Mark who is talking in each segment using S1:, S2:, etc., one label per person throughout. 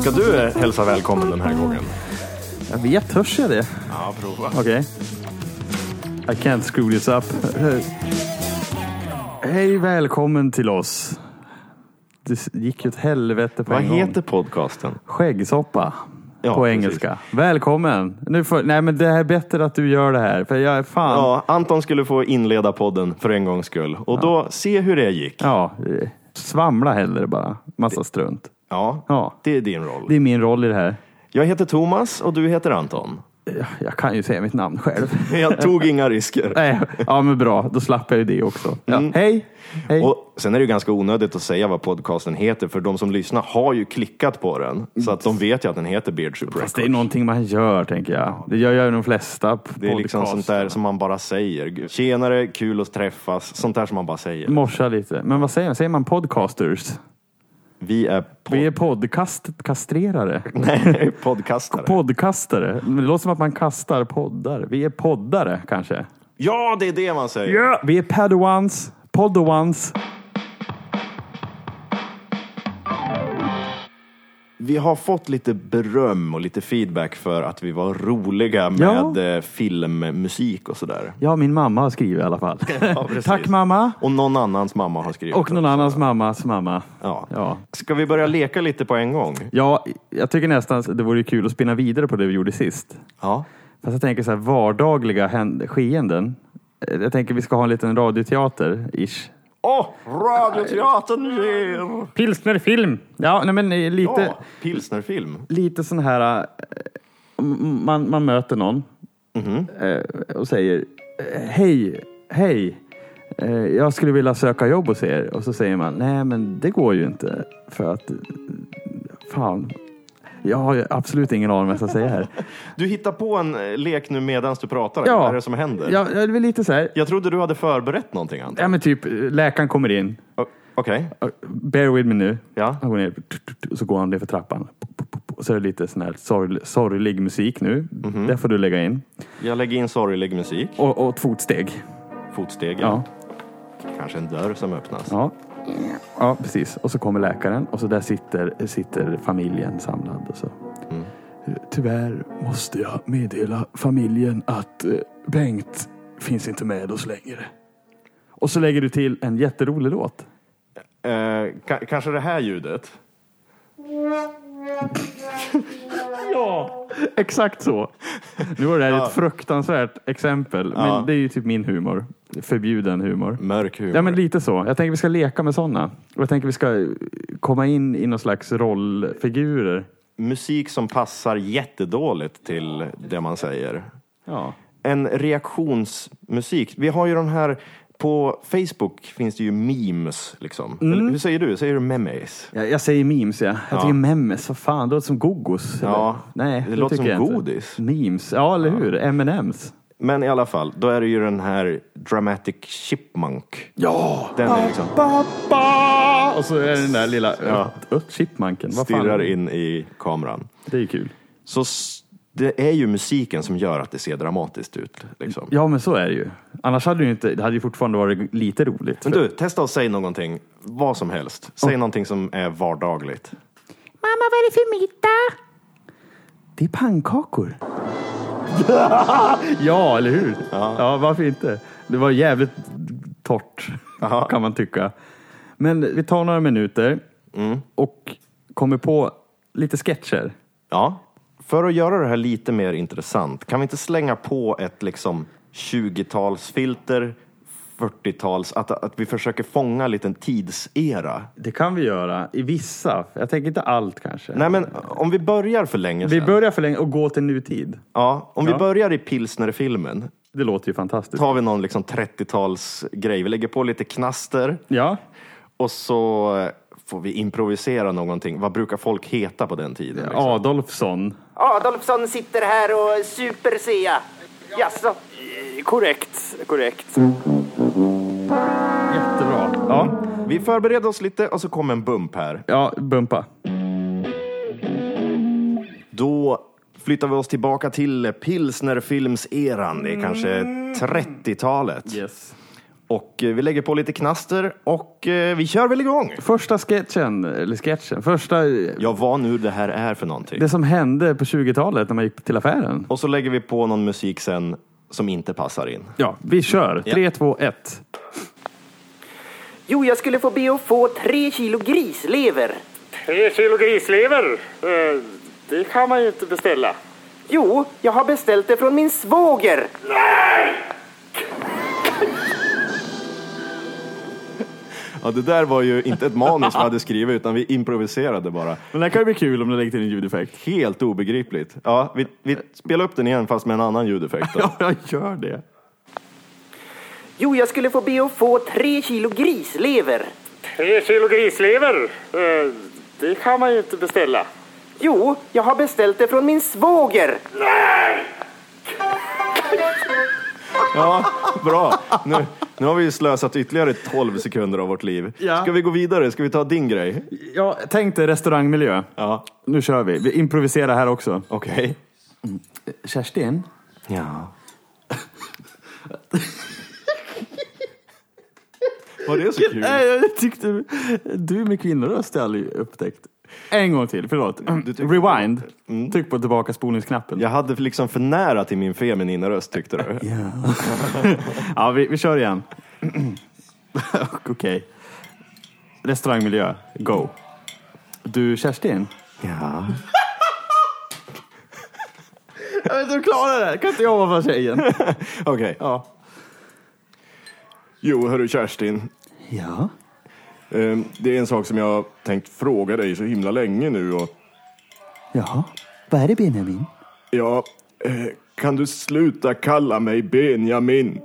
S1: Ska du hälsa välkommen den här gången?
S2: Jag vet, törs jag det?
S1: Ja, prova.
S2: Okej. I can't screw this up. Hej, välkommen till oss. Det gick ju ett helvete på
S1: Vad
S2: en gång.
S1: heter podcasten?
S2: Skäggsoppa.
S1: Ja,
S2: på
S1: precis.
S2: engelska. Välkommen. Nu får, nej men det är bättre att du gör det här. För jag är fan. Ja.
S1: Ja, Anton skulle få inleda podden för en gångs skull. Och då, se hur det gick.
S2: eh, svamla hellre bara. Massa strunt.
S1: Ja,
S2: Ja.
S1: det är din roll.
S2: Det är min roll i det här.
S1: Jag heter Thomas och du heter Anton.
S2: Ja, Jag kan ju säga mitt namn själv.
S1: Jag tog inga risker.
S2: nej, ja men bra. Då slapp jag ju det också. Ja. Hej. Hej.
S1: Mm. Och sen är det ju ganska onödigt att säga vad podcasten heter, för de som lyssnar har ju klickat på den. Så att de vet ju att den heter Beardship Records.
S2: Fast det är någonting man gör, tänker jag. Det gör jag ju de flesta p-
S1: Det är liksom sånt
S2: podcast.
S1: där som man bara säger. Tjenare, kul att träffas. Sånt där som man bara säger.
S2: Morsa lite. Men vad säger man? Säger man podcasters?
S1: Vi är
S2: Vi
S1: pod-
S2: är podcastkastrerare.
S1: Nej, podcastare.
S2: Podcastare. Det låter som att man kastar poddar. Vi är poddare, kanske.
S1: Ja, det är det man säger.
S2: Ja! Vi är padawans, poddawans.
S1: Vi har fått lite beröm och lite feedback för att vi var roliga
S2: Ja.
S1: med eh, filmmusik och sådär.
S2: Ja, min mamma har skrivit i alla fall.
S1: Ja, precis.
S2: Tack mamma!
S1: Och någon annans mamma har skrivit.
S2: Och någon
S1: också.
S2: annans mammas mamma.
S1: Ja.
S2: Ja.
S1: Ska vi börja leka lite på en gång?
S2: ja, jag tycker nästan att det vore kul att spinna vidare på det vi gjorde sist.
S1: Ja.
S2: Fast jag tänker så här vardagliga händ- skeenden. Eh, Jag tänker vi ska ha en liten radioteater-ish.
S1: Åh, radioteatern ger!
S2: Pilsnerfilm! Ja, nej men eh, lite,
S1: Ja, pilsnerfilm.
S2: lite sån här... eh, m- Man, man möter någon
S1: Mhm.
S2: eh, och säger eh, Hej, hej! eh, Jag skulle vilja söka jobb hos er. Och så säger man nej men det går ju inte för att eh, fan. Jag har ju absolut ingen aning om vad jag ska säga här.
S1: Du hittar på en eh, lek nu medan du pratar. Vad är det som händer?
S2: Ja, det är väl lite så här.
S1: Jag trodde du hade förberett någonting, Anton.
S2: Ja men typ eh, läkaren kommer in.
S1: O- Okej.
S2: Uh, Bear with me nu.
S1: Ja.
S2: Han går ner och så går han ner för trappan. Och så är det lite sån här sorg, sorglig musik nu. Det får du lägga in.
S1: Jag lägger in sorglig musik.
S2: Och, och ett fotsteg.
S1: Fotstegen.
S2: Ja.
S1: Kanske en dörr som öppnas.
S2: Ja. ja, precis. Och så kommer läkaren och så där sitter, sitter familjen samlad. Och så. Eh, Tyvärr måste jag meddela familjen att eh, Bengt finns inte med oss längre. Och så lägger du till en jätterolig låt.
S1: Eh, ka- kanske det här ljudet.
S2: Ja, exakt så. Nu var det här ett fruktansvärt exempel, men
S1: Ja.
S2: det är ju typ min humor. Förbjuden humor.
S1: Mörk humor.
S2: Ja, men lite så. Jag tänker vi ska leka med sådana. Och jag tänker vi ska komma in i någon slags rollfigurer.
S1: Musik som passar jättedåligt till det man säger.
S2: Ja.
S1: En reaktionsmusik. Vi har ju de här... På Facebook finns det ju memes. Liksom.
S2: Mm.
S1: Eller, hur säger du? Säger du memes?
S2: Jag, jag säger memes, ja. Jag
S1: Ja.
S2: tycker memes, vad fan, det låter som gogos. eller?
S1: Ja,
S2: Nej,
S1: det låter
S2: tycker
S1: som
S2: jag inte.
S1: godis.
S2: Memes, ja eller hur? M&M's.
S1: Men i alla fall, då är det ju den här Dramatic Chipmunk.
S2: Ja!
S1: Den är liksom
S2: Pappa! Och så är det den där lilla
S1: Ja.
S2: ört- örtchipmanken. Vad fan?
S1: stirrar in i kameran.
S2: Det är ju kul.
S1: Så s- det är ju musiken som gör att det ser dramatiskt ut. Liksom.
S2: Ja, men så är det ju. Annars hade det ju inte, det hade ju fortfarande varit lite roligt.
S1: Men du, testa att säga någonting. Vad som helst. Säg någonting som är vardagligt.
S2: Mamma, vad är det för middag? Det är pannkakor. ja, eller hur? Ja. varför inte? Det var jävligt torrt,
S1: Ja.
S2: kan man tycka. Men vi tar några minuter Mm. och kommer på lite sketcher.
S1: Ja. För att göra det här lite mer intressant, kan vi inte slänga på ett liksom 20-talsfilter, 40-tals, att, att vi försöker fånga en liten tidsera?
S2: Det kan vi göra i vissa. Jag tänker inte allt kanske.
S1: Nej men om vi börjar för länge
S2: Vi
S1: sedan.
S2: börjar för länge och går till nutid.
S1: ja, om
S2: Ja.
S1: vi börjar i pilsnerfilmen,
S2: Det låter ju fantastiskt.
S1: tar vi någon liksom 30-talsgrej. Vi lägger på lite knaster
S2: Ja,
S1: och så får vi improvisera någonting. Vad brukar folk heta på den tiden? liksom?
S2: Adolfsson.
S3: Adolfsson sitter här och super ser jag. Jaså?
S2: Eh, Korrekt, korrekt. Jättebra. Ja,
S1: Vi förbereder oss lite och så kommer en bump här.
S2: ja bumpa.
S1: Då flyttar vi oss tillbaka till pilsnerfilmseran. Det är kanske 30-talet.
S2: Yes.
S1: Och eh, vi lägger på lite knaster och eh, vi kör väl igång.
S2: Första sketchen, eller sketchen, första...
S1: Ja, vad nu det här är för någonting.
S2: Det som hände på 20-talet när man gick till affären.
S1: Och så lägger vi på någon musik sen som inte passar in.
S2: Ja, vi kör.
S1: Ja.
S2: 3, 2, 1.
S3: Jo, jag skulle få be att få tre kilo grislever.
S4: Tre kilo grislever, eh, det kan man ju inte beställa.
S3: Jo, jag har beställt det från min svåger.
S1: Ja, det där var ju inte ett manus vi hade skrivit utan vi improviserade bara.
S2: Men det här kan ju bli kul om du lägger till en ljudeffekt.
S1: Helt obegripligt. Ja, vi, vi spelar upp den igen fast med en annan ljudeffekt. Då.
S2: Ja, jag gör det.
S3: Jo, jag skulle få be att få tre kilo grislever.
S4: Tre kilo grislever, eh, det kan man ju inte beställa.
S3: Jo, jag har beställt det från min svåger.
S1: Ja, bra. Nu, nu har vi ju slösat ytterligare 12 sekunder av vårt liv.
S2: Ja.
S1: Ska vi gå vidare? Ska vi ta din grej?
S2: Ja, tänk dig restaurangmiljö.
S1: Ja.
S2: Nu kör vi. Vi improviserar här också.
S1: Okej.
S2: Kerstin?
S1: Ja. Var det så kul?
S2: Nej, jag tyckte... Du med kvinnoröst har jag aldrig upptäckt. Mm. En gång till, förlåt. Rewind. Tryck på tillbaka spolningsknappen.
S1: Jag hade liksom för nära till min feminina röst tyckte du?
S2: Ja, vi, vi kör igen. Okej. Restaurangmiljö, go. Du Kerstin?
S1: Ja.
S2: Jag vet inte hur jag klarar det här. Kan inte jag vara tjejen?
S1: Okej.
S2: Ja.
S1: Jo, hörru Kerstin.
S2: Ja?
S1: Eh, Det är en sak som jag har tänkt fråga dig så himla länge nu. Och,
S2: Ja. Vad är det Benjamin?
S1: ja, eh, kan du sluta kalla mig Benjamin?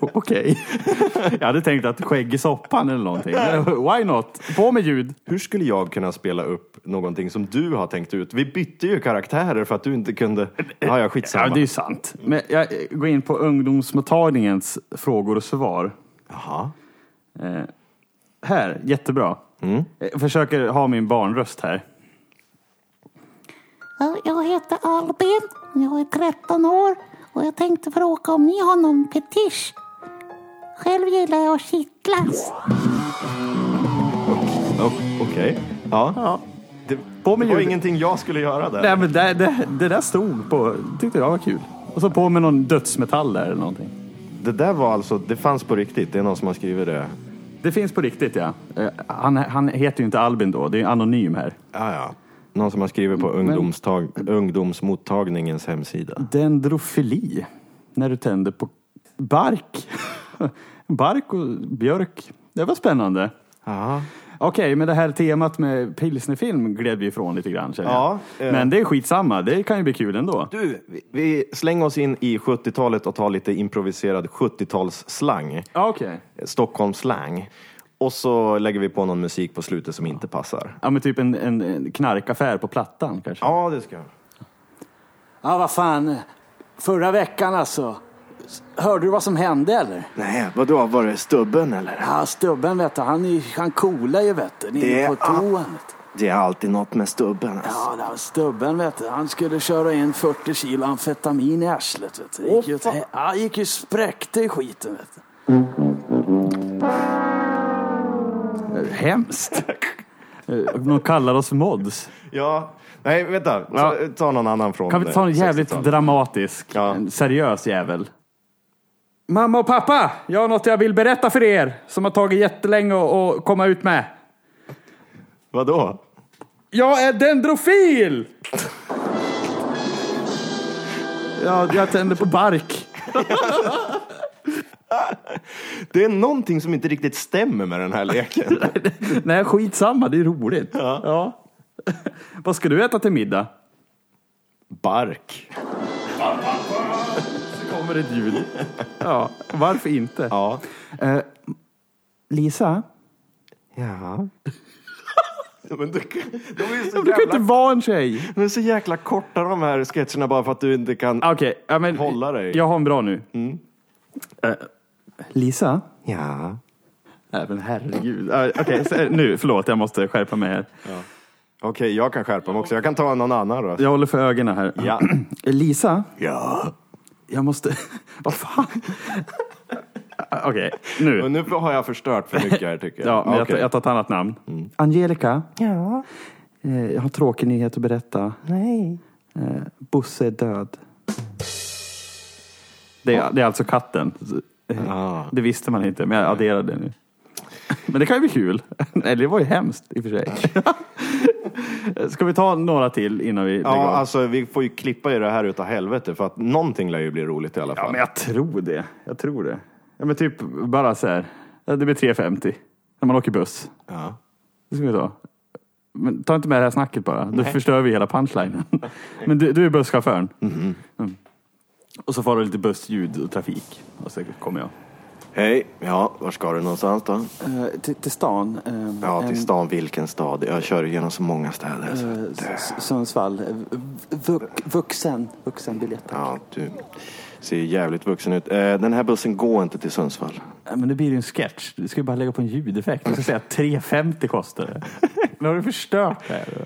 S2: O- Okej. jag hade tänkt att skägg i soppan eller någonting. Why not? På med ljud.
S1: Hur skulle jag kunna spela upp någonting som du har tänkt ut? Vi bytte ju karaktärer för att du inte kunde... Ja, ja, skitsamma.
S2: Ja, det är ju sant. Men jag eh, går in på ungdomsmottagningens frågor och svar.
S1: Jaha.
S2: Eh, här, jättebra. Jag försöker ha min barnröst här.
S5: Ja, Jag heter Albin, jag är 13 år och jag tänkte fråga om ni har någon fetisch? Själv gillar jag att kittlas.
S1: O- Oh, Okej. Ja. Det,
S2: På med
S1: det var
S2: ljud.
S1: ingenting jag skulle göra där.
S2: Nej, men det, det, det där stod på, tyckte jag var kul. Och så på med någon dödsmetall där eller någonting.
S1: Det där var alltså... Det fanns på riktigt. Det är någon som har skrivit det.
S2: Det finns på riktigt ja. Eh, Han, han heter ju inte Albin då, det är anonym här.
S1: Ja, ja. Någon som har skrivit på ungdomstag- ungdomsmottagningens hemsida.
S2: Dendrofili, när du tänder på bark. bark och björk. Det var spännande.
S1: Ja.
S2: Okej, men det här temat med pilsnerfilm gled vi ifrån lite grann känner
S1: Ja,
S2: jag.
S1: eh.
S2: Men det är skitsamma, det kan ju bli kul ändå.
S1: Du, vi, vi slänger oss in i 70-talet och tar lite improviserad 70-talsslang.
S2: Ja, Okej.
S1: Stockholmsslang. Och så lägger vi på någon musik på slutet som inte passar.
S2: Ja men typ en, en, en knarkaffär på Plattan kanske.
S1: Ja, det ska
S6: Ja, vad fan. Förra veckan alltså. S- Hörde du vad som hände eller?
S7: Nej, vadå? Var det stubben eller?
S6: Ja, stubben vet du, han, är- han coolar ju vet du.
S7: Det
S6: Nere
S7: är
S6: på
S7: a-
S6: toan. vet du.
S7: Det är alltid något med stubben alltså.
S6: Ja, där, stubben vet du, han skulle köra in 40 kilo amfetamin i arslet vet du. Det Gick ju, åt he- ja, det gick ju spräckte i skiten vet du.
S2: Hemskt. Eh, De kallar oss mods.
S1: Ja, nej vänta. Så,
S2: Ja.
S1: Ta någon annan från eh,
S2: Kan vi ta en jävligt
S1: 60-talet.
S2: dramatisk,
S1: Ja.
S2: en seriös jävel? Mamma och pappa, jag har något jag vill berätta för er som har tagit jättelänge att att komma ut med.
S1: Vadå?
S2: Jag är dendrofil! ja, jag tänder på bark.
S1: Det är någonting som inte riktigt stämmer med den här leken.
S2: Nej, skitsamma, det är roligt. Ja. Vad ska du äta till middag?
S1: Bark.
S2: Så kommer ett ljud. Ja, varför inte? Eh,
S1: Ja.
S2: Lisa,
S1: Ja. Men du, kan- de är ju så
S2: men du kan
S1: jävla
S2: inte vara en tjej.
S1: De är så jäkla korta de här sketcherna bara för att du inte kan...
S2: Ah, Okej, ja, men
S1: Hålla dig.
S2: jag har en bra nu. Eh, Lisa?
S1: Ja.
S2: Nej men herregud. Eh, Okej, så- nu, förlåt jag måste skärpa mig här.
S1: Okej, jag kan skärpa mig också. Jag kan ta någon annan röst.
S2: Jag håller för ögonen här.
S1: Ja.
S2: Lisa? Ja? jag måste... Vad fan? Okej, nu.
S1: Och nu har jag förstört för mycket här tycker jag.
S2: Ja, men jag, tar-
S1: Okej. Mm.
S2: jag tar ett annat namn. Angelica,
S5: Ja,
S2: eh, jag har tråkig nyhet att berätta.
S5: nej.
S2: Eh, Bosse är död. Det är, det är alltså katten. Eh, Det visste man inte, men jag adderade det nu. Men det kan ju bli kul. Eller det var ju hemskt i och för sig. Ska vi ta några till innan vi lägger
S1: Ja,
S2: av?
S1: alltså vi får ju klippa i det här utav helvete för att någonting lär ju bli roligt i alla fall.
S2: Ja, men jag tror det. Jag tror det. Ja, men typ bara så här. Ja, Det blir 3.50 när man åker buss.
S1: Ja.
S2: Det ska vi ta. Men ta inte med det här snacket bara. Då förstör vi hela punchlinen. Men du, du är busschauffören. Mm. Och så får du lite bussljud och trafik. Och så kommer jag.
S1: Hej, ja, var ska du någonstans då?
S6: Eh, till, till stan. eh,
S1: Ja,
S6: en-
S2: Ehm.
S1: till stan, vilken stad? Jag kör genom så många städer. Så.
S6: eh, S- Sundsvall. Eh, Vux, vuxen. Vuxenbiljett.
S1: Ja, du ser ju jävligt vuxen ut. Eh, Den här bussen går inte till Sundsvall.
S2: Ja, Men nu blir det ju en sketch. Du ska ju bara lägga på en ljudeffekt. Du ska säga 3.50 kostar det. Nu har du förstört det här.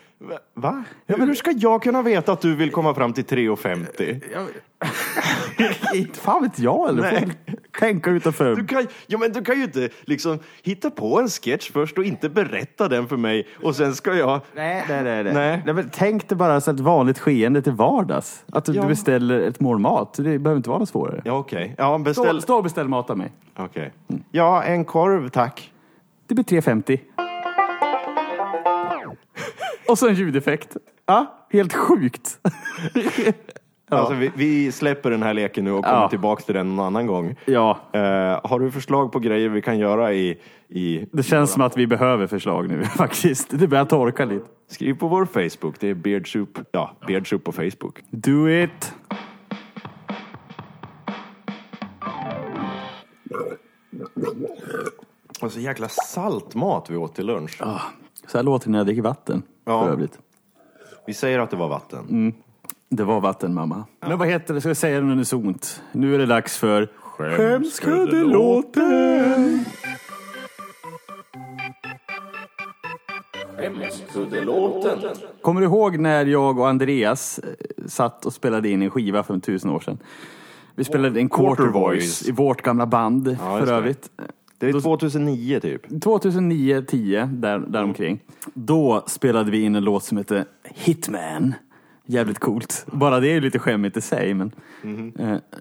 S1: Va? Ja, men Eh, hur ska jag kunna veta att du vill komma fram till 3.50?
S2: Inte fan vet jag. Eller? Får
S1: Nej.
S2: väl Tänka utanför.
S1: Du kan, ja, men du kan ju inte liksom hitta på en sketch först och inte berätta den för mig och sen ska jag...
S2: Nej, nej, nej. nej.
S1: Nej.
S2: men tänk dig bara så ett vanligt skeende till vardags. Att du
S1: Ja.
S2: beställer ett mål mat. Det behöver inte vara något svårare.
S1: Ja, okej. Ja,
S2: Stå,
S1: beställ...
S2: stå och beställ mat av mig.
S1: Okej. Ja, en korv, tack.
S2: Det blir 3,50. Och så en ljudeffekt. Ja, helt sjukt.
S1: Alltså, vi, vi släpper den här leken nu och kommer
S2: Ja.
S1: tillbaka till den någon annan gång.
S2: Ja,
S1: Eh, har du förslag på grejer vi kan göra i... i
S2: det känns som att vi behöver förslag nu faktiskt. Det börjar torka lite.
S1: skriv på vår Facebook. Det är Beard Soup. Ja, Beard Soup på Facebook.
S2: Do it!
S1: Och så jäkla saltmat vi åt till lunch.
S2: Så här låter det när jag dricker vatten.
S1: Ja.
S2: För övrigt.
S1: Vi säger att det var vatten.
S2: Mm. Det var vatten, mamma. Men vad heter det? Ska jag säga det när det är så ont? Nu är det dags för Skämskuddelåten! Kommer du ihåg när jag och Andreas eh, satt och spelade in en skiva för tusen år sedan? Vi spelade en quarter
S1: Quarter
S2: voice
S1: voice.
S2: i vårt gamla band
S1: Ja, just
S2: för
S1: det.
S2: övrigt.
S1: Det är 2009 typ.
S2: 2009-10, där, däromkring. Då spelade vi in en låt som hette Hitman. Jävligt coolt. Bara det är ju lite skämmigt i sig. Men, eh,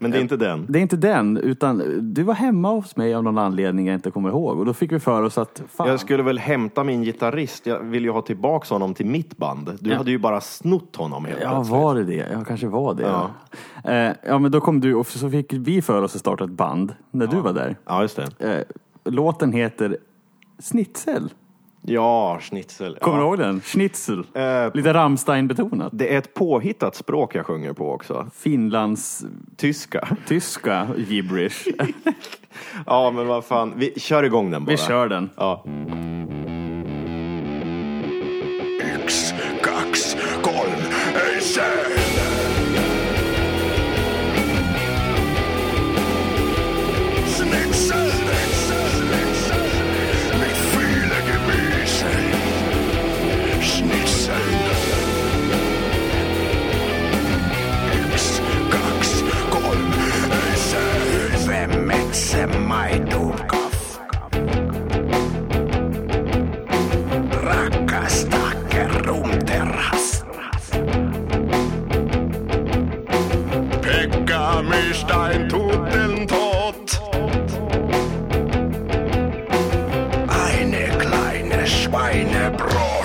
S1: Men det är inte den.
S2: det är inte den, utan du var hemma hos mig av någon anledning jag inte kommer ihåg. Och då fick vi för oss att, fan,
S1: Jag skulle väl hämta min gitarrist. Jag vill ju ha tillbaks honom till mitt band. Du hade ju bara snott honom helt
S2: ja
S1: plötsligt.
S2: var det det? Ja, kanske var det. Ja. Eh, ja, men då kom du och så fick vi för oss att starta ett band när du var där.
S1: Ja, just det.
S2: Eh, låten heter Snitsel.
S1: Ja, schnitzel.
S2: Kommer du
S1: ja.
S2: ihåg den? Schnitzel.
S1: Eh,
S2: Lite Rammstein-betonat.
S1: Det är ett påhittat språk jag sjunger på också.
S2: Finlands
S1: Tyska.
S2: tyska gibberish.
S1: Ja, men vad fan. Vi kör igång den bara.
S2: Vi kör den.
S1: Ja.
S8: Yksi, kaksi, kolme, ei se! Snitsel! Mit viele Gemüse. Schnitzel. Yksi, kaksi, kolme, ei se! Hyvä metsä, maidon kafka. rakasta kerrumterras. Pekka Mistain tutten tot. Eine kleine Schweinebrot.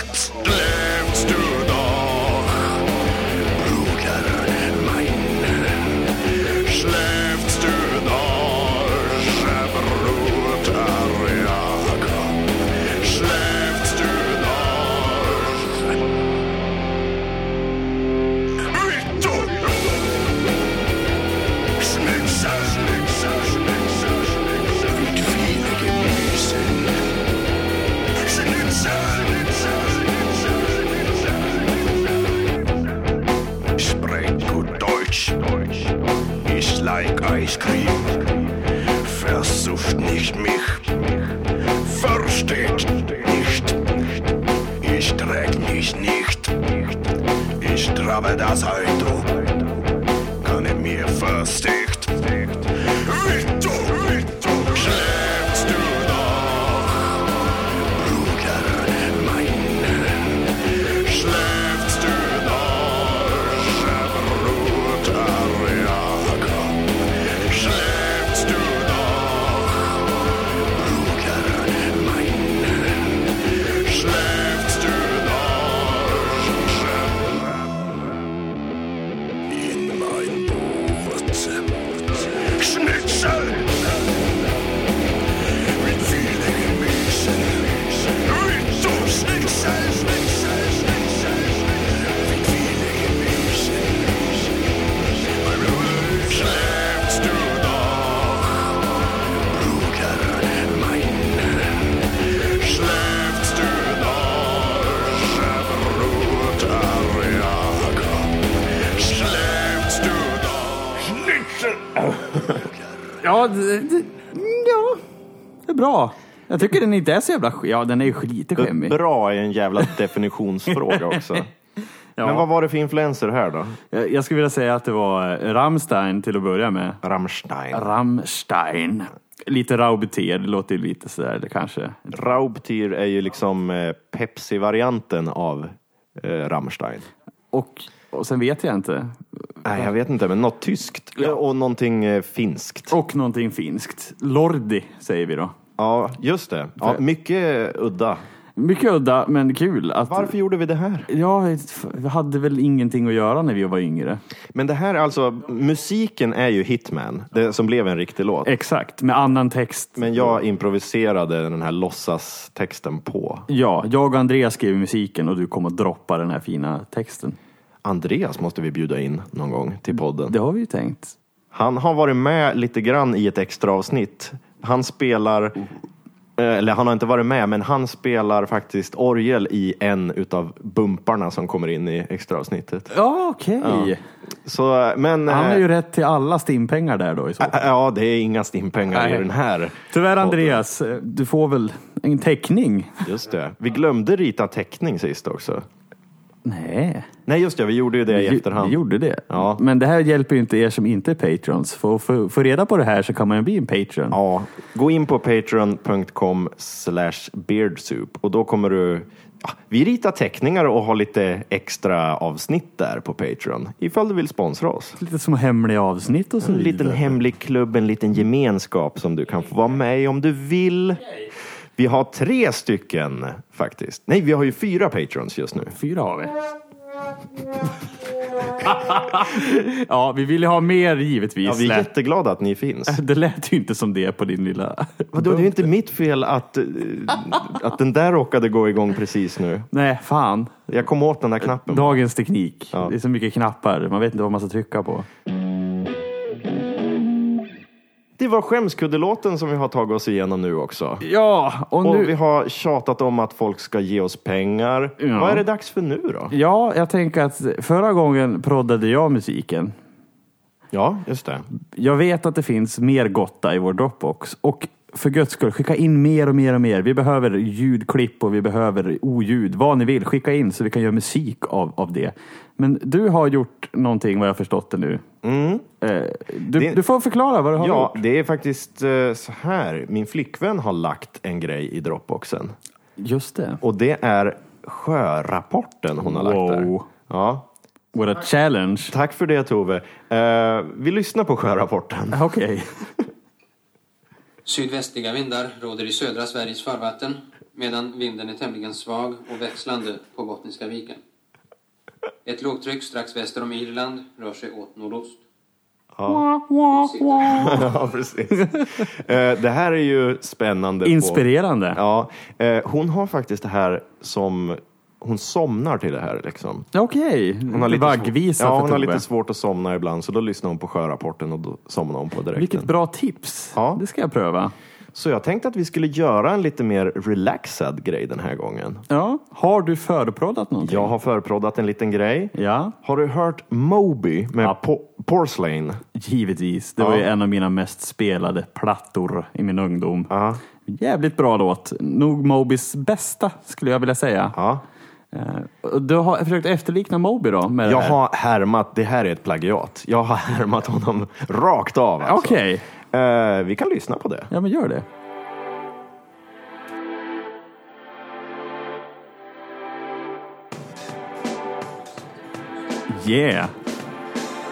S8: Lebst du doch, Bruder mein? Schläfst du doch, Bruder Jakob? Schläfst du doch? Victor! Schnitzer, Schnitzer, Schnitzer, Schnitzer. Mit viele Gemüse. Schnitzer, Schnitzer, Schnitzer, Schnitzer. Spreng gut Deutsch, Deutsch. Ich like Ice Cream. Versucht nicht mich versteht nicht. Ich träg mich nicht. Ich trabe das Auto. Kann er mir är för stekt. Vittor, Vittor, krävs du doch? Bruder, meinen, schläfst du doch? Bruder, Jakob, schläfst du doch? Bruder, meinen, schläfst du doch? in mein Brot. Schnitzel! Mit vielen Gemüsen. Mit so Schnitzel, Schnitzel, Schnitzel, Schnitzel. Mit vielen Gemüsen. Mein Bruder, schläfst du doch? Bruder, mein, schläfst du doch? Bruder, Jakob, schläfst du doch? Schnitzel!
S2: Ja, det, det, ja, det är bra. Jag tycker den inte är så jävla sk- Ja, den är ju lite skämmig.
S1: Bra är en jävla definitionsfråga också. Men vad var det för influenser här då?
S2: Jag, jag skulle vilja säga att det var eh, Rammstein till att börja med.
S1: Rammstein.
S2: Rammstein. Lite Raubtier, det låter ju lite sådär det kanske.
S1: Raubtier är ju liksom eh, Pepsi-varianten av eh, Rammstein.
S2: Och, och sen vet jag inte.
S1: Nej, jag vet inte, men något tyskt och någonting eh, finskt.
S2: Och någonting finskt. Lordi säger vi då.
S1: Ja, just det. Ja, mycket eh, udda.
S2: Mycket udda men kul. Att,
S1: Varför gjorde vi det här?
S2: Ja, vi hade väl ingenting att göra när vi var yngre.
S1: Men det här är alltså, musiken är ju Hitman, det som blev en riktig låt.
S2: Exakt, med annan text.
S1: Men jag improviserade den här låtsastexten på.
S2: Ja, jag och Andreas skrev musiken och du kom och droppa den här fina texten.
S1: Andreas måste vi bjuda in någon gång till podden.
S2: Det har vi ju tänkt.
S1: Han har varit med lite grann i ett extra avsnitt. Han spelar, eh, eller han har inte varit med, men han spelar faktiskt orgel i en utav bumparna som kommer in i extra avsnittet.
S2: Ja, okej.
S1: Så, eh, men,
S2: Han
S1: eh,
S2: har ju rätt till alla stimpengar där då i så fall.
S1: Ja, det är inga stimpengar i
S2: Nej.
S1: den här.
S2: Tyvärr Andreas, eh, du får väl en teckning?
S1: Just det. Vi glömde rita teckning sist också.
S2: Nej.
S1: Nej, just det. Vi gjorde ju det i
S2: Vi-
S1: efterhand.
S2: Vi gjorde det.
S1: Ja.
S2: Men det här hjälper ju inte er som inte är patrons. För att få- få reda på det här så kan man ju bli en patron.
S1: Ja, gå in på patreon.com slash beardsoup och då kommer du... Ja, vi ritar teckningar och har lite extra avsnitt där på Patreon ifall du vill sponsra oss.
S2: Lite som hemliga avsnitt och så
S1: En
S2: vidare.
S1: liten hemlig klubb, en liten gemenskap som du kan få vara med i om du vill. Vi har tre stycken faktiskt. Nej, vi har ju fyra patrons just nu.
S2: Fyra har vi. ja, vi vill ju ha mer givetvis.
S1: Ja, vi är
S2: Lät-
S1: jätteglada att ni finns.
S2: Det lät ju inte som det på din lilla...
S1: Äh, Vadå, det är ju inte mitt fel att, eh, att den där råkade gå igång precis nu.
S2: Nej, fan.
S1: Jag kom åt den där knappen.
S2: Dagens teknik.
S1: Ja.
S2: Det är så mycket knappar. Man vet inte vad man ska trycka på.
S1: Det var skämskuddelåten som vi har tagit oss igenom nu också.
S2: Ja, och
S1: Och
S2: nu...
S1: vi har tjatat om att folk ska ge oss pengar.
S2: Ja.
S1: Vad är det dags för nu då?
S2: Ja, jag tänker att förra gången proddade jag musiken.
S1: Ja, just det.
S2: Jag vet att det finns mer gotta i vår Dropbox. Och för guds skull, skicka in mer och mer och mer. Vi behöver ljudklipp och vi behöver oljud. Vad ni vill, skicka in så vi kan göra musik av, av det. Men du har gjort någonting vad jag har förstått det nu. Eh, du,
S1: Mm. Det-
S2: du får förklara vad du har
S1: Ja,
S2: gjort.
S1: det är faktiskt eh, så här. Min flickvän har lagt en grej i Dropboxen.
S2: Just det.
S1: Och det är sjörapporten hon har lagt där.
S2: Wow.
S1: Ja.
S2: Våra challenge.
S1: Tack för det Tove. Eh, vi lyssnar på sjörapporten.
S2: Okej.
S9: Sydvästliga vindar råder i södra Sveriges farvatten medan vinden är tämligen svag och växlande på Bottniska viken. Ett lågtryck strax väster om Irland rör sig åt nordost.
S1: ja, precis. Eh, det här är ju spännande. på-
S2: Inspirerande.
S1: Ja, eh, hon har faktiskt det här som... Hon somnar till det här liksom.
S2: Okej.
S1: Hon har lite
S2: Vaggvisa
S1: svårt, ja,
S2: för
S1: hon har
S2: Tobbe.
S1: lite svårt att somna ibland så då lyssnar hon på sjörapporten och då somnar hon på direkten.
S2: Vilket bra tips.
S1: Ja.
S2: Det ska jag pröva.
S1: Så jag tänkte att vi skulle göra en lite mer relaxad grej den här gången.
S2: Ja. Har du förproddat någonting?
S1: Jag har förproddat en liten grej.
S2: Ja,
S1: Har du hört Moby med
S2: Ja.
S1: po- Porcelain?
S2: givetvis. Det var
S1: Ja.
S2: ju en av mina mest spelade plattor i min ungdom.
S1: Ja.
S2: Jävligt bra låt. Nog Mobis bästa skulle jag vilja säga.
S1: Ja.
S2: Eh, och Du har försökt efterlikna Moby då? Med
S1: Jag
S2: det här.
S1: har härmat, det här är ett plagiat. Jag har härmat honom rakt av. Alltså.
S2: Okej,
S1: Eh, vi kan lyssna på det.
S2: ja men gör det. Yeah!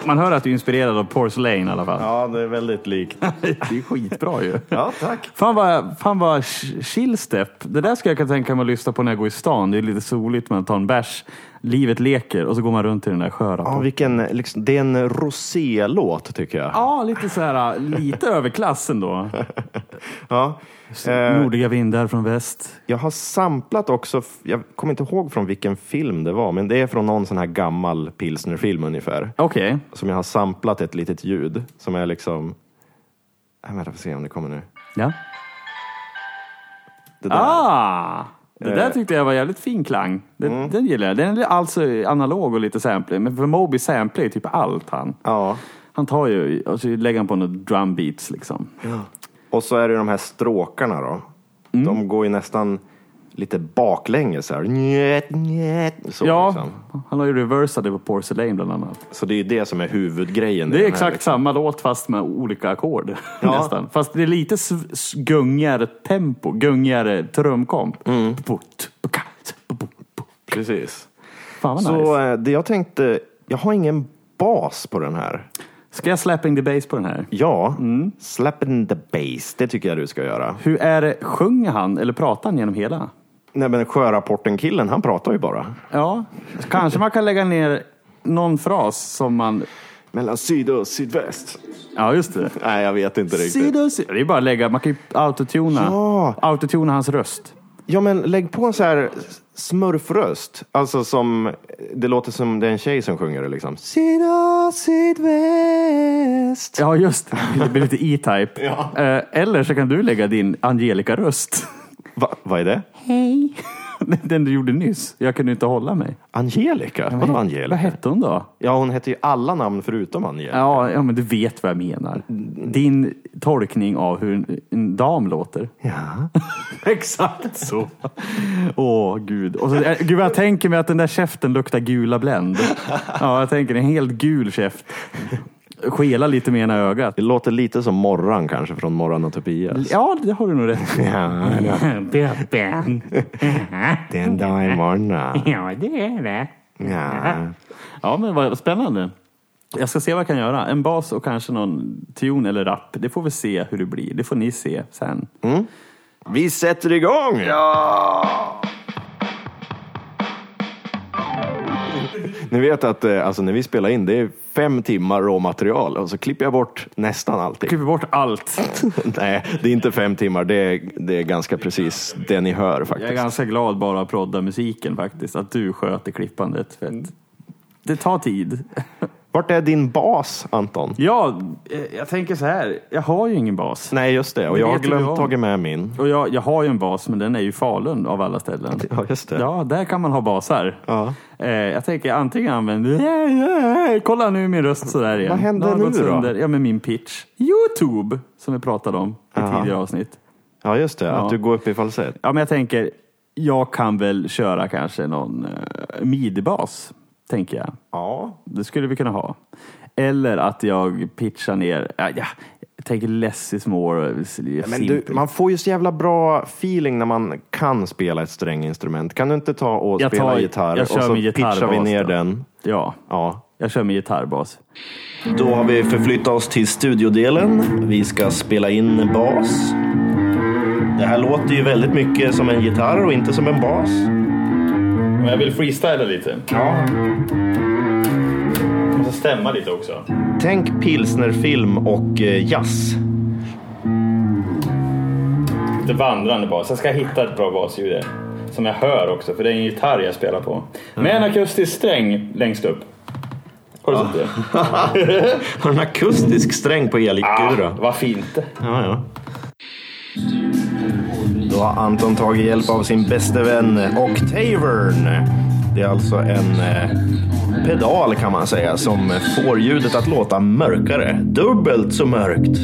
S2: Man hör att du är inspirerad av Porcelain i alla fall.
S1: Ja, det är väldigt likt.
S2: Det är skitbra ju.
S1: Ja, tack.
S2: Fan vad, fan vad ch- chillstep. Det där ska jag kunna tänka mig att lyssna på när jag går i stan. Det är lite soligt, man tar en bärs, livet leker och så går man runt i den där sköra.
S1: Ja,
S2: på-
S1: vilken, liksom, det är en rosé-låt tycker jag.
S2: Ja, lite så här, lite överklassen då.
S1: Ja.
S2: Nordiga vindar från väst.
S1: Jag har samplat också, f- jag kommer inte ihåg från vilken film det var, men det är från någon sån här gammal pilsnerfilm ungefär.
S2: Okej,
S1: Som jag har samplat ett litet ljud som är liksom... Jag vänta, får se om det kommer nu.
S2: ja.
S1: Det där.
S2: Ah! Det där tyckte jag var jävligt fin klang. Den,
S1: Mm.
S2: den gillar jag. Den är alltså analog och lite samplig. Men för Moby samplar ju typ allt han.
S1: Ja.
S2: Han tar ju, och så lägger han på några drum beats liksom.
S1: Och så är det de här stråkarna då. De går ju nästan lite baklänges så här. Njet, njet, så,
S2: ja,
S1: liksom.
S2: han har ju reversat det på Porcelain bland annat.
S1: så det är ju det som är huvudgrejen. i
S2: Det
S1: den
S2: är
S1: här,
S2: exakt
S1: liksom.
S2: samma låt fast med olika ackord.
S1: Ja.
S2: Nästan. Fast det är lite sv- s- gungigare tempo, gungigare trumkomp.
S1: Mm.
S2: Put, puka, pupu, pu.
S1: Precis.
S2: Fan vad
S1: Så
S2: nice.
S1: eh, det jag tänkte, jag har ingen bas på den här.
S2: Ska jag slapping the bass på den här?
S1: Ja, slap in the bass, det tycker jag du ska göra.
S2: Hur är det, sjunger han eller pratar han genom hela?
S1: Nej men sjörapporten-killen, han pratar ju bara.
S2: Ja, kanske man kan lägga ner någon fras som man...
S7: Mellan syd och sydväst.
S2: Ja, just det.
S1: Nej, jag vet inte riktigt.
S2: Sida och sida. Det är bara att lägga, man kan ju autotuna,
S1: Ja.
S2: autotuna hans röst.
S1: Ja, men lägg på en så här smurfröst. Alltså som, det låter som det är en tjej som sjunger det liksom. Sida, sydväst.
S2: Ja, just det. Det blir lite E-Type. Eh, Eller så kan du lägga din Angelica-röst.
S1: Va, vad är det?
S5: Hej.
S2: Den du gjorde nyss. Jag kunde inte hålla mig.
S1: Angelica? Vadå
S2: Vad
S1: Angelica?
S2: hette hon då?
S1: Ja, hon heter ju alla namn förutom Angelica.
S2: Ja, ja, men du vet vad jag menar. Din tolkning av hur en, en dam låter.
S1: Ja.
S2: Exakt så. Åh, gud. Och så, eh, gud, vad jag tänker mig att den där käften luktar gula Blend. Ja, jag tänker en helt gul käft. Skela lite med ena ögat.
S1: Det låter lite som Morran kanske från Morran och Tobias.
S2: Ja, det har du nog rätt i.
S1: Ja,
S2: Böben.
S1: det är en dag i morgon.
S2: Ja, det är det.
S1: Ja.
S2: Ja, men vad spännande. Jag ska se vad jag kan göra. En bas och kanske någon tune eller rap. Det får vi se hur det blir. Det får ni se sen.
S1: Vi sätter igång! Ni vet att eh, alltså, när vi spelar in, det är fem timmar råmaterial och så klipper jag bort nästan allting.
S2: Klipper bort allt.
S1: Nej, det är inte fem timmar. Det är, det är ganska precis det ni hör
S2: Jag är
S1: faktiskt.
S2: ganska glad bara att prodda musiken faktiskt. Att du sköter klippandet. För att det tar tid.
S1: Vart är din bas, Anton?
S2: Ja, eh, jag tänker så här. Jag har ju ingen bas.
S1: Nej, just det. Och
S2: Det
S1: jag har
S2: vet vi om.
S1: glömt tagit med min.
S2: Och jag, jag har ju en bas, men den är ju i Falun av alla ställen.
S1: Ja, just det.
S2: Ja, där kan man ha basar.
S1: Ja.
S2: Eh, jag tänker antingen använder... Yeah, yeah, yeah. Kolla nu är min röst sådär igen.
S1: Vad händer
S2: Den har
S1: nu
S2: gått
S1: då?
S2: sönder. Ja, men min pitch. Youtube, som vi pratade om i tidigare avsnitt.
S1: Ja, just det.
S2: Ja.
S1: Att du går upp i falsett.
S2: Ja, men jag tänker, jag kan väl köra kanske någon eh, midi-bas, tänker jag.
S1: Ja.
S2: Det skulle vi kunna ha. Eller att jag pitchar ner, ja, ja, jag tänker less is more. eh,
S1: Men du, man får ju så jävla bra feeling när man kan spela ett stränginstrument. Kan du inte ta och
S2: Jag
S1: spela
S2: tar-
S1: gitarr
S2: jag
S1: och
S2: kör
S1: så
S2: min gitarrbas
S1: pitchar vi ner
S2: då.
S1: den?
S2: Ja,
S1: Ja.
S2: jag kör med gitarrbas.
S1: Då har vi förflyttat oss till studiodelen. Vi ska spela in bas. Det här låter ju väldigt mycket som en gitarr och inte som en bas.
S2: Men jag vill freestyla lite.
S1: Ja.
S2: Och så stämma lite också.
S1: Tänk pilsnerfilm och eh, jazz.
S2: Lite vandrande bas. Jag ska hitta ett bra basljud där. Som jag hör också, för det är en gitarr jag spelar på. Med en akustisk sträng längst upp. Har du sett det?
S1: Har en akustisk sträng på elgitarr.
S2: Ah, vad fint.
S1: Ja, ja. Då har Anton tagit hjälp av sin bäste vän Octavern. Det är alltså en eh, pedal kan man säga som får ljudet att låta mörkare. Dubbelt så mörkt.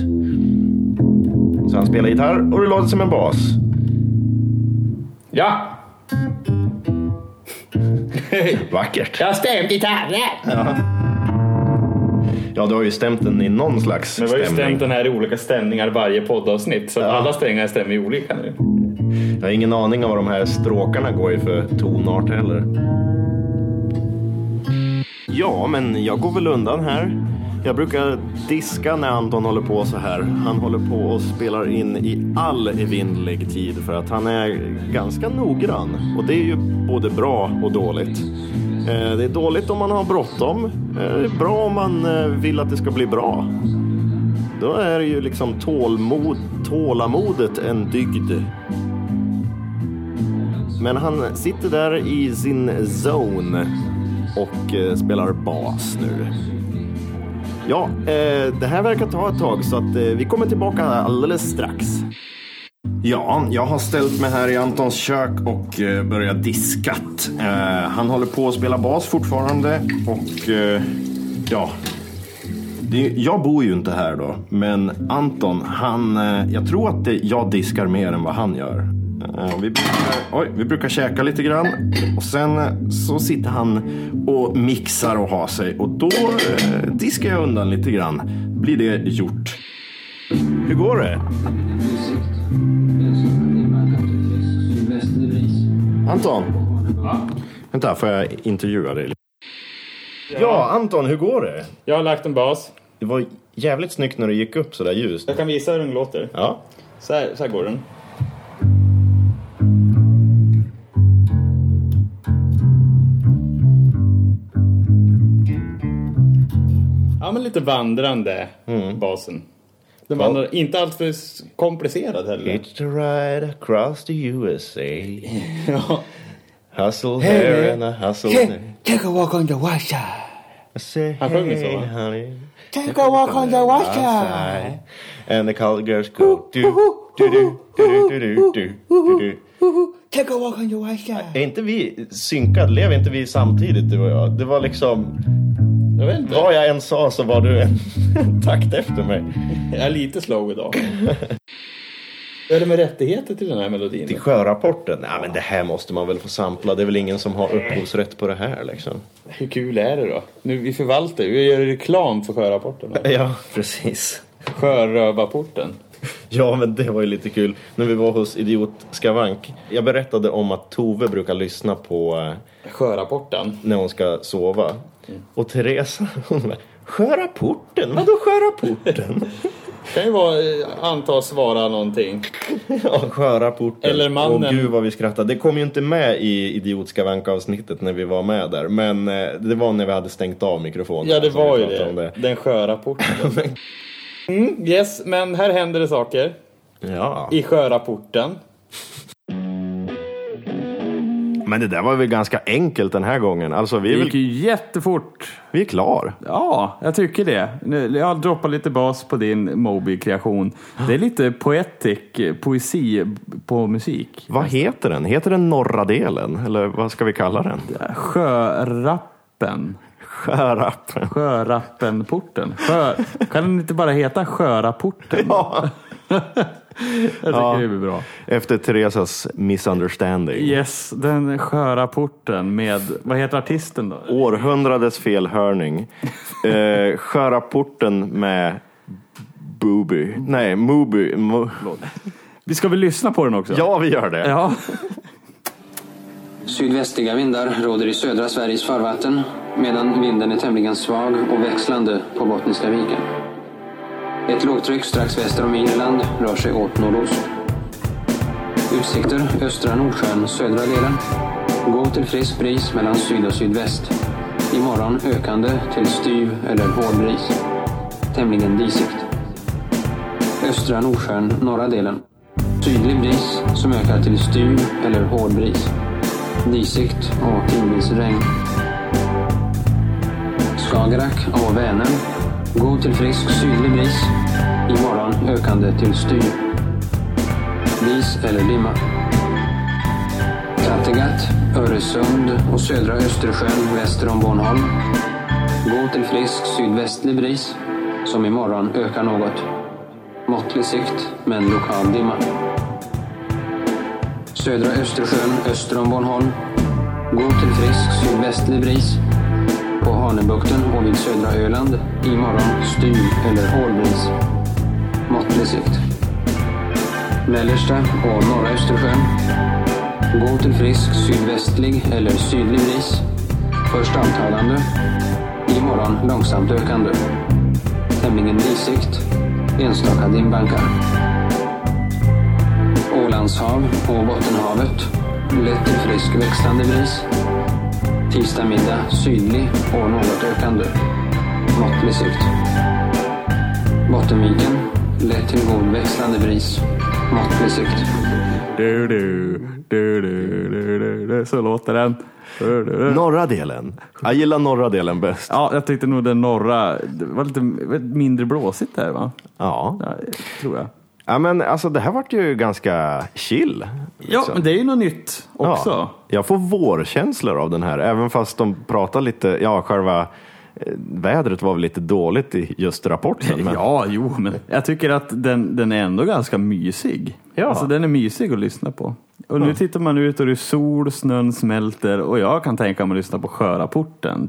S1: Så han spelar gitarr och det låter som en bas.
S2: Ja!
S1: Vackert.
S10: Jag har stämt gitarren.
S1: Ja, du har ju stämt den i någon slags
S11: Men vi har ju
S1: stämning.
S11: stämt den här i olika stämningar varje poddavsnitt. Så alla strängar stämmer ju olika nu.
S1: Jag har ingen aning om vad de här stråkarna går i för tonart heller. Ja, men jag går väl undan här. Jag brukar diska när Anton håller på så här. Han håller på och spelar in i all evinnerlig tid för att han är ganska noggrann. Och det är ju både bra och dåligt. Eh, Det är dåligt om man har bråttom. Eh, Det är bra om man eh, vill att det ska bli bra. Då är det ju liksom tålmod, tålamodet en dygd. Men han sitter där i sin zone och eh, spelar bas nu. Ja, eh, det här verkar ta ett tag så att eh, vi kommer tillbaka alldeles strax. Ja, jag har ställt mig här i Antons kök och eh, börjat diskat. Eh, han håller på att spela bas fortfarande och eh, ja, det, jag bor ju inte här då, men Anton, han, eh, jag tror att det, jag diskar mer än vad han gör. Eh, Vi brukar, oj, vi brukar käka lite grann och sen eh, så sitter han och mixar och har sig och då eh, diskar jag undan lite grann. Blir det gjort. Hur går det? Anton? Vänta, får jag intervjua dig? Ja, Anton, hur går det?
S11: Jag har lagt en bas.
S1: Det var jävligt snyggt när det gick upp sådär ljust.
S11: Jag kan visa hur den låter.
S1: Ja.
S11: Så här, så här går den. Ja, men lite vandrande, basen. Mm. Den
S1: Ja.
S11: vandrar inte alltför s- komplicerad heller.
S1: It's the ride across the USA.
S11: Ja.
S1: Hustle here and a hustle there.
S10: Take a walk on the washer.
S1: I say,
S10: Han sjunger så,
S1: hey,
S10: va?
S1: honey.
S10: Take a walk on the washer.
S1: outside. And the college girls go do, do, do, do, do, do, do, do, do.
S10: Take a walk on the washer.
S1: Är inte vi synkade? Lever inte vi samtidigt du och jag? Det var liksom...
S11: Jag vet inte.
S1: Vad jag än sa så var du en takt efter mig.
S11: Jag är lite slow idag. Hur är det med rättigheter till den här melodin?
S1: Till sjörapporten? Nej men det här måste man väl få sampla. Det är väl ingen som har upphovsrätt på det här liksom.
S11: Hur kul är det då? Nu, vi förvaltar ju. Vi gör reklam för sjörapporten.
S1: Ja, precis.
S11: Sjörövarporten.
S1: Ja, men det var ju lite kul. När vi var hos Idiot Skavank. Jag berättade om att Tove brukar lyssna på eh,
S11: Sjörapporten.
S1: när hon ska sova. Och Teresa, hon bara, sjörapporten? Vadå sjörapporten?
S11: Kan ju vara, eh, antas vara någonting.
S1: ja, sjörapporten.
S11: Eller mannen.
S1: Åh gud vad vi skrattade. Det kom ju inte med i Idiot Skavank avsnittet när vi var med där. Men eh, det var när vi hade stängt av mikrofonen.
S11: Ja, det
S1: som vi
S11: var ju
S1: pratade
S11: det.
S1: om
S11: Den sjörapporten. Mm, yes, men här händer det saker.
S1: Ja.
S11: I sjörapporten.
S1: Men det där var väl ganska enkelt den här gången. Alltså vi
S2: Det
S1: är,
S2: gick
S1: väl,
S2: ju jättefort.
S1: vi är klar.
S2: Ja, jag tycker det. Nu, jag droppar lite bas på din Moby-kreation. Det är lite poetic eh, poesi på musik.
S1: Vad heter den? Heter den norra delen? Eller vad ska vi kalla den?
S2: Sjörappen.
S1: Skärappen.
S2: Sjörappenporten. Sjö, kan den inte bara heta Sjörapporten?
S1: Ja.
S2: jag tycker
S1: Ja.
S2: det blir bra.
S1: Efter Teresas misunderstanding.
S2: Yes, den Sjörapporten med, vad heter artisten då?
S1: Århundradets felhörning. Eh, Skärapporten med Booby. Nej, Mooby. Mo-
S2: Vi ska väl lyssna på den också?
S1: ja, vi gör det.
S2: Ja.
S9: Sydvästliga vindar råder i södra Sveriges farvatten medan vinden är tämligen svag och växlande på Bottniska viken. Ett lågtryck strax väster om Irland rör sig åt nordost. Utsikter östra Nordsjön södra delen. Gå till frisk bris mellan syd och sydväst. Imorgon ökande till styv eller hård bris. Tämligen disigt. Östra Nordsjön norra delen. Sydlig bris som ökar till styv eller hård bris disigt och tidvis regn. Skagerrak och Vänern. God till frisk sydlig bris. Imorgon ökande till styr. Dis eller dimma. Kattegatt, Öresund och södra Östersjön väster om Bornholm. God till frisk sydvästlig bris som imorgon ökar något. Måttlig sikt men lokal dimma. Södra Östersjön öster om Bornholm. Går till frisk sydvästlig bris. På Hanöbukten och vid södra Öland imorgon styv eller hårdbris. Måttlig sikt. Mellersta och norra Östersjön. Går till frisk sydvästlig eller sydlig bris. Först avtagande. Imorgon långsamt ökande. Tämligen risigt. Enstaka dimbankar. Ålandshav och Bottenhavet. Lätt till frisk växlande bris. Tisdag middag sydlig och något ökande. Måttlig sikt. Bottenviken. Lätt till god växlande bris. Måttlig sikt.
S2: Du, du, du, du, du, du, du. Så låter den. Du, du, du.
S1: Norra delen. Jag gillar norra delen bäst.
S2: Ja, jag tyckte nog den norra. Det var lite mindre blåsigt där va?
S1: Ja.
S2: tror jag.
S1: Ja, men alltså det här vart ju ganska chill.
S2: Ja, men det är ju något nytt också.
S1: Ja, jag får vårkänslor av den här, även fast de pratar lite, ja själva eh, vädret var väl lite dåligt i just rapporten. Men,
S2: Ja, jo, men jag tycker att den, den är ändå ganska mysig.
S1: Ja.
S2: Alltså den är mysig att lyssna på. Och nu tittar man ut och det är sol, snön smälter och jag kan tänka mig att lyssna på sjörapporten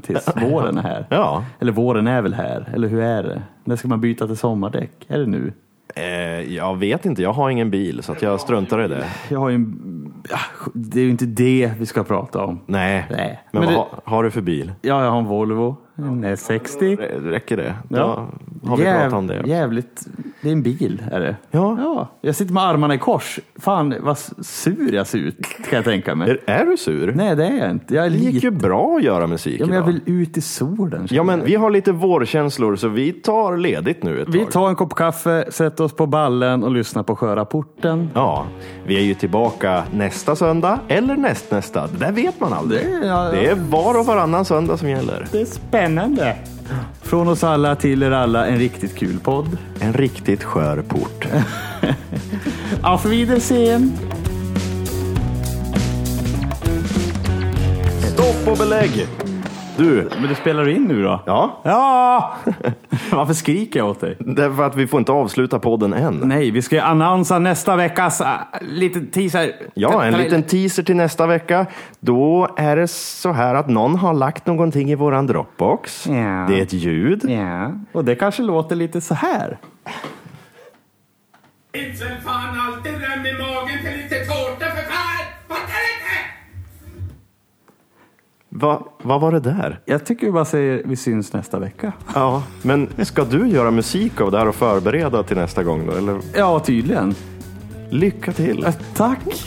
S2: tills våren är här.
S1: Ja.
S2: Eller våren är väl här, eller hur är det? När ska man byta till sommardäck? Är det nu?
S1: eh, jag vet inte, jag har ingen bil så att jag struntar i det.
S2: Jag har ju en... ja, Det är ju inte det vi ska prata om.
S1: Nej,
S2: Nej.
S1: men, vad
S2: Men det-
S1: ha- har du för bil?
S2: Ja, jag har en Volvo, en S60.
S1: Rä- Räcker det?
S2: Ja.
S1: Ja, har vi
S2: Jäv-
S1: pratat om det?
S2: Jävligt, det är en bil är det.
S1: Ja.
S2: Jag sitter med armarna i kors. Fan vad sur jag ser ut, kan jag tänka mig.
S1: Är, är du sur?
S2: Nej det är jag inte. Jag är
S1: Det gick
S2: lite...
S1: ju bra att göra musik
S2: Ja, men jag
S1: idag.
S2: vill ut i solen.
S1: Ja, men vi har lite vårkänslor så vi tar ledigt nu ett
S2: Vi
S1: tag.
S2: tar en kopp kaffe, sätter oss på ballen och lyssnar på sjörapporten.
S1: Ja, vi är ju tillbaka nästa söndag eller nästnästa. Det där vet man aldrig.
S2: Det- ja, ja.
S1: Det är var och varannan söndag som gäller.
S2: Det är spännande. Från oss alla till er alla, en riktigt kul podd.
S1: En riktigt skör port.
S2: Auf Wiedersehen!
S1: Stopp och belägg! Du,
S2: Men du spelar in nu då?
S1: ja,
S2: Ja! Varför skriker jag åt dig?
S1: därför att vi får inte avsluta podden än.
S2: Nej, vi ska ju annonsa nästa veckas äh, liten teaser.
S1: Ja, en
S2: Tra-
S1: liten teaser till nästa vecka. Då är det så här att någon har lagt någonting i våran Dropbox.
S2: Ja.
S1: Det är ett ljud.
S2: Ja, och det kanske låter lite så här.
S12: Som fan alltid röm i magen till lite tårta för fan! Fattar inte!
S1: Va, vad var det där?
S2: Jag tycker vi bara säger vi syns nästa vecka.
S1: Ja, men ska du göra musik av det här och förbereda till nästa gång då? Eller?
S2: Ja, tydligen.
S1: Lycka till!
S2: Tack!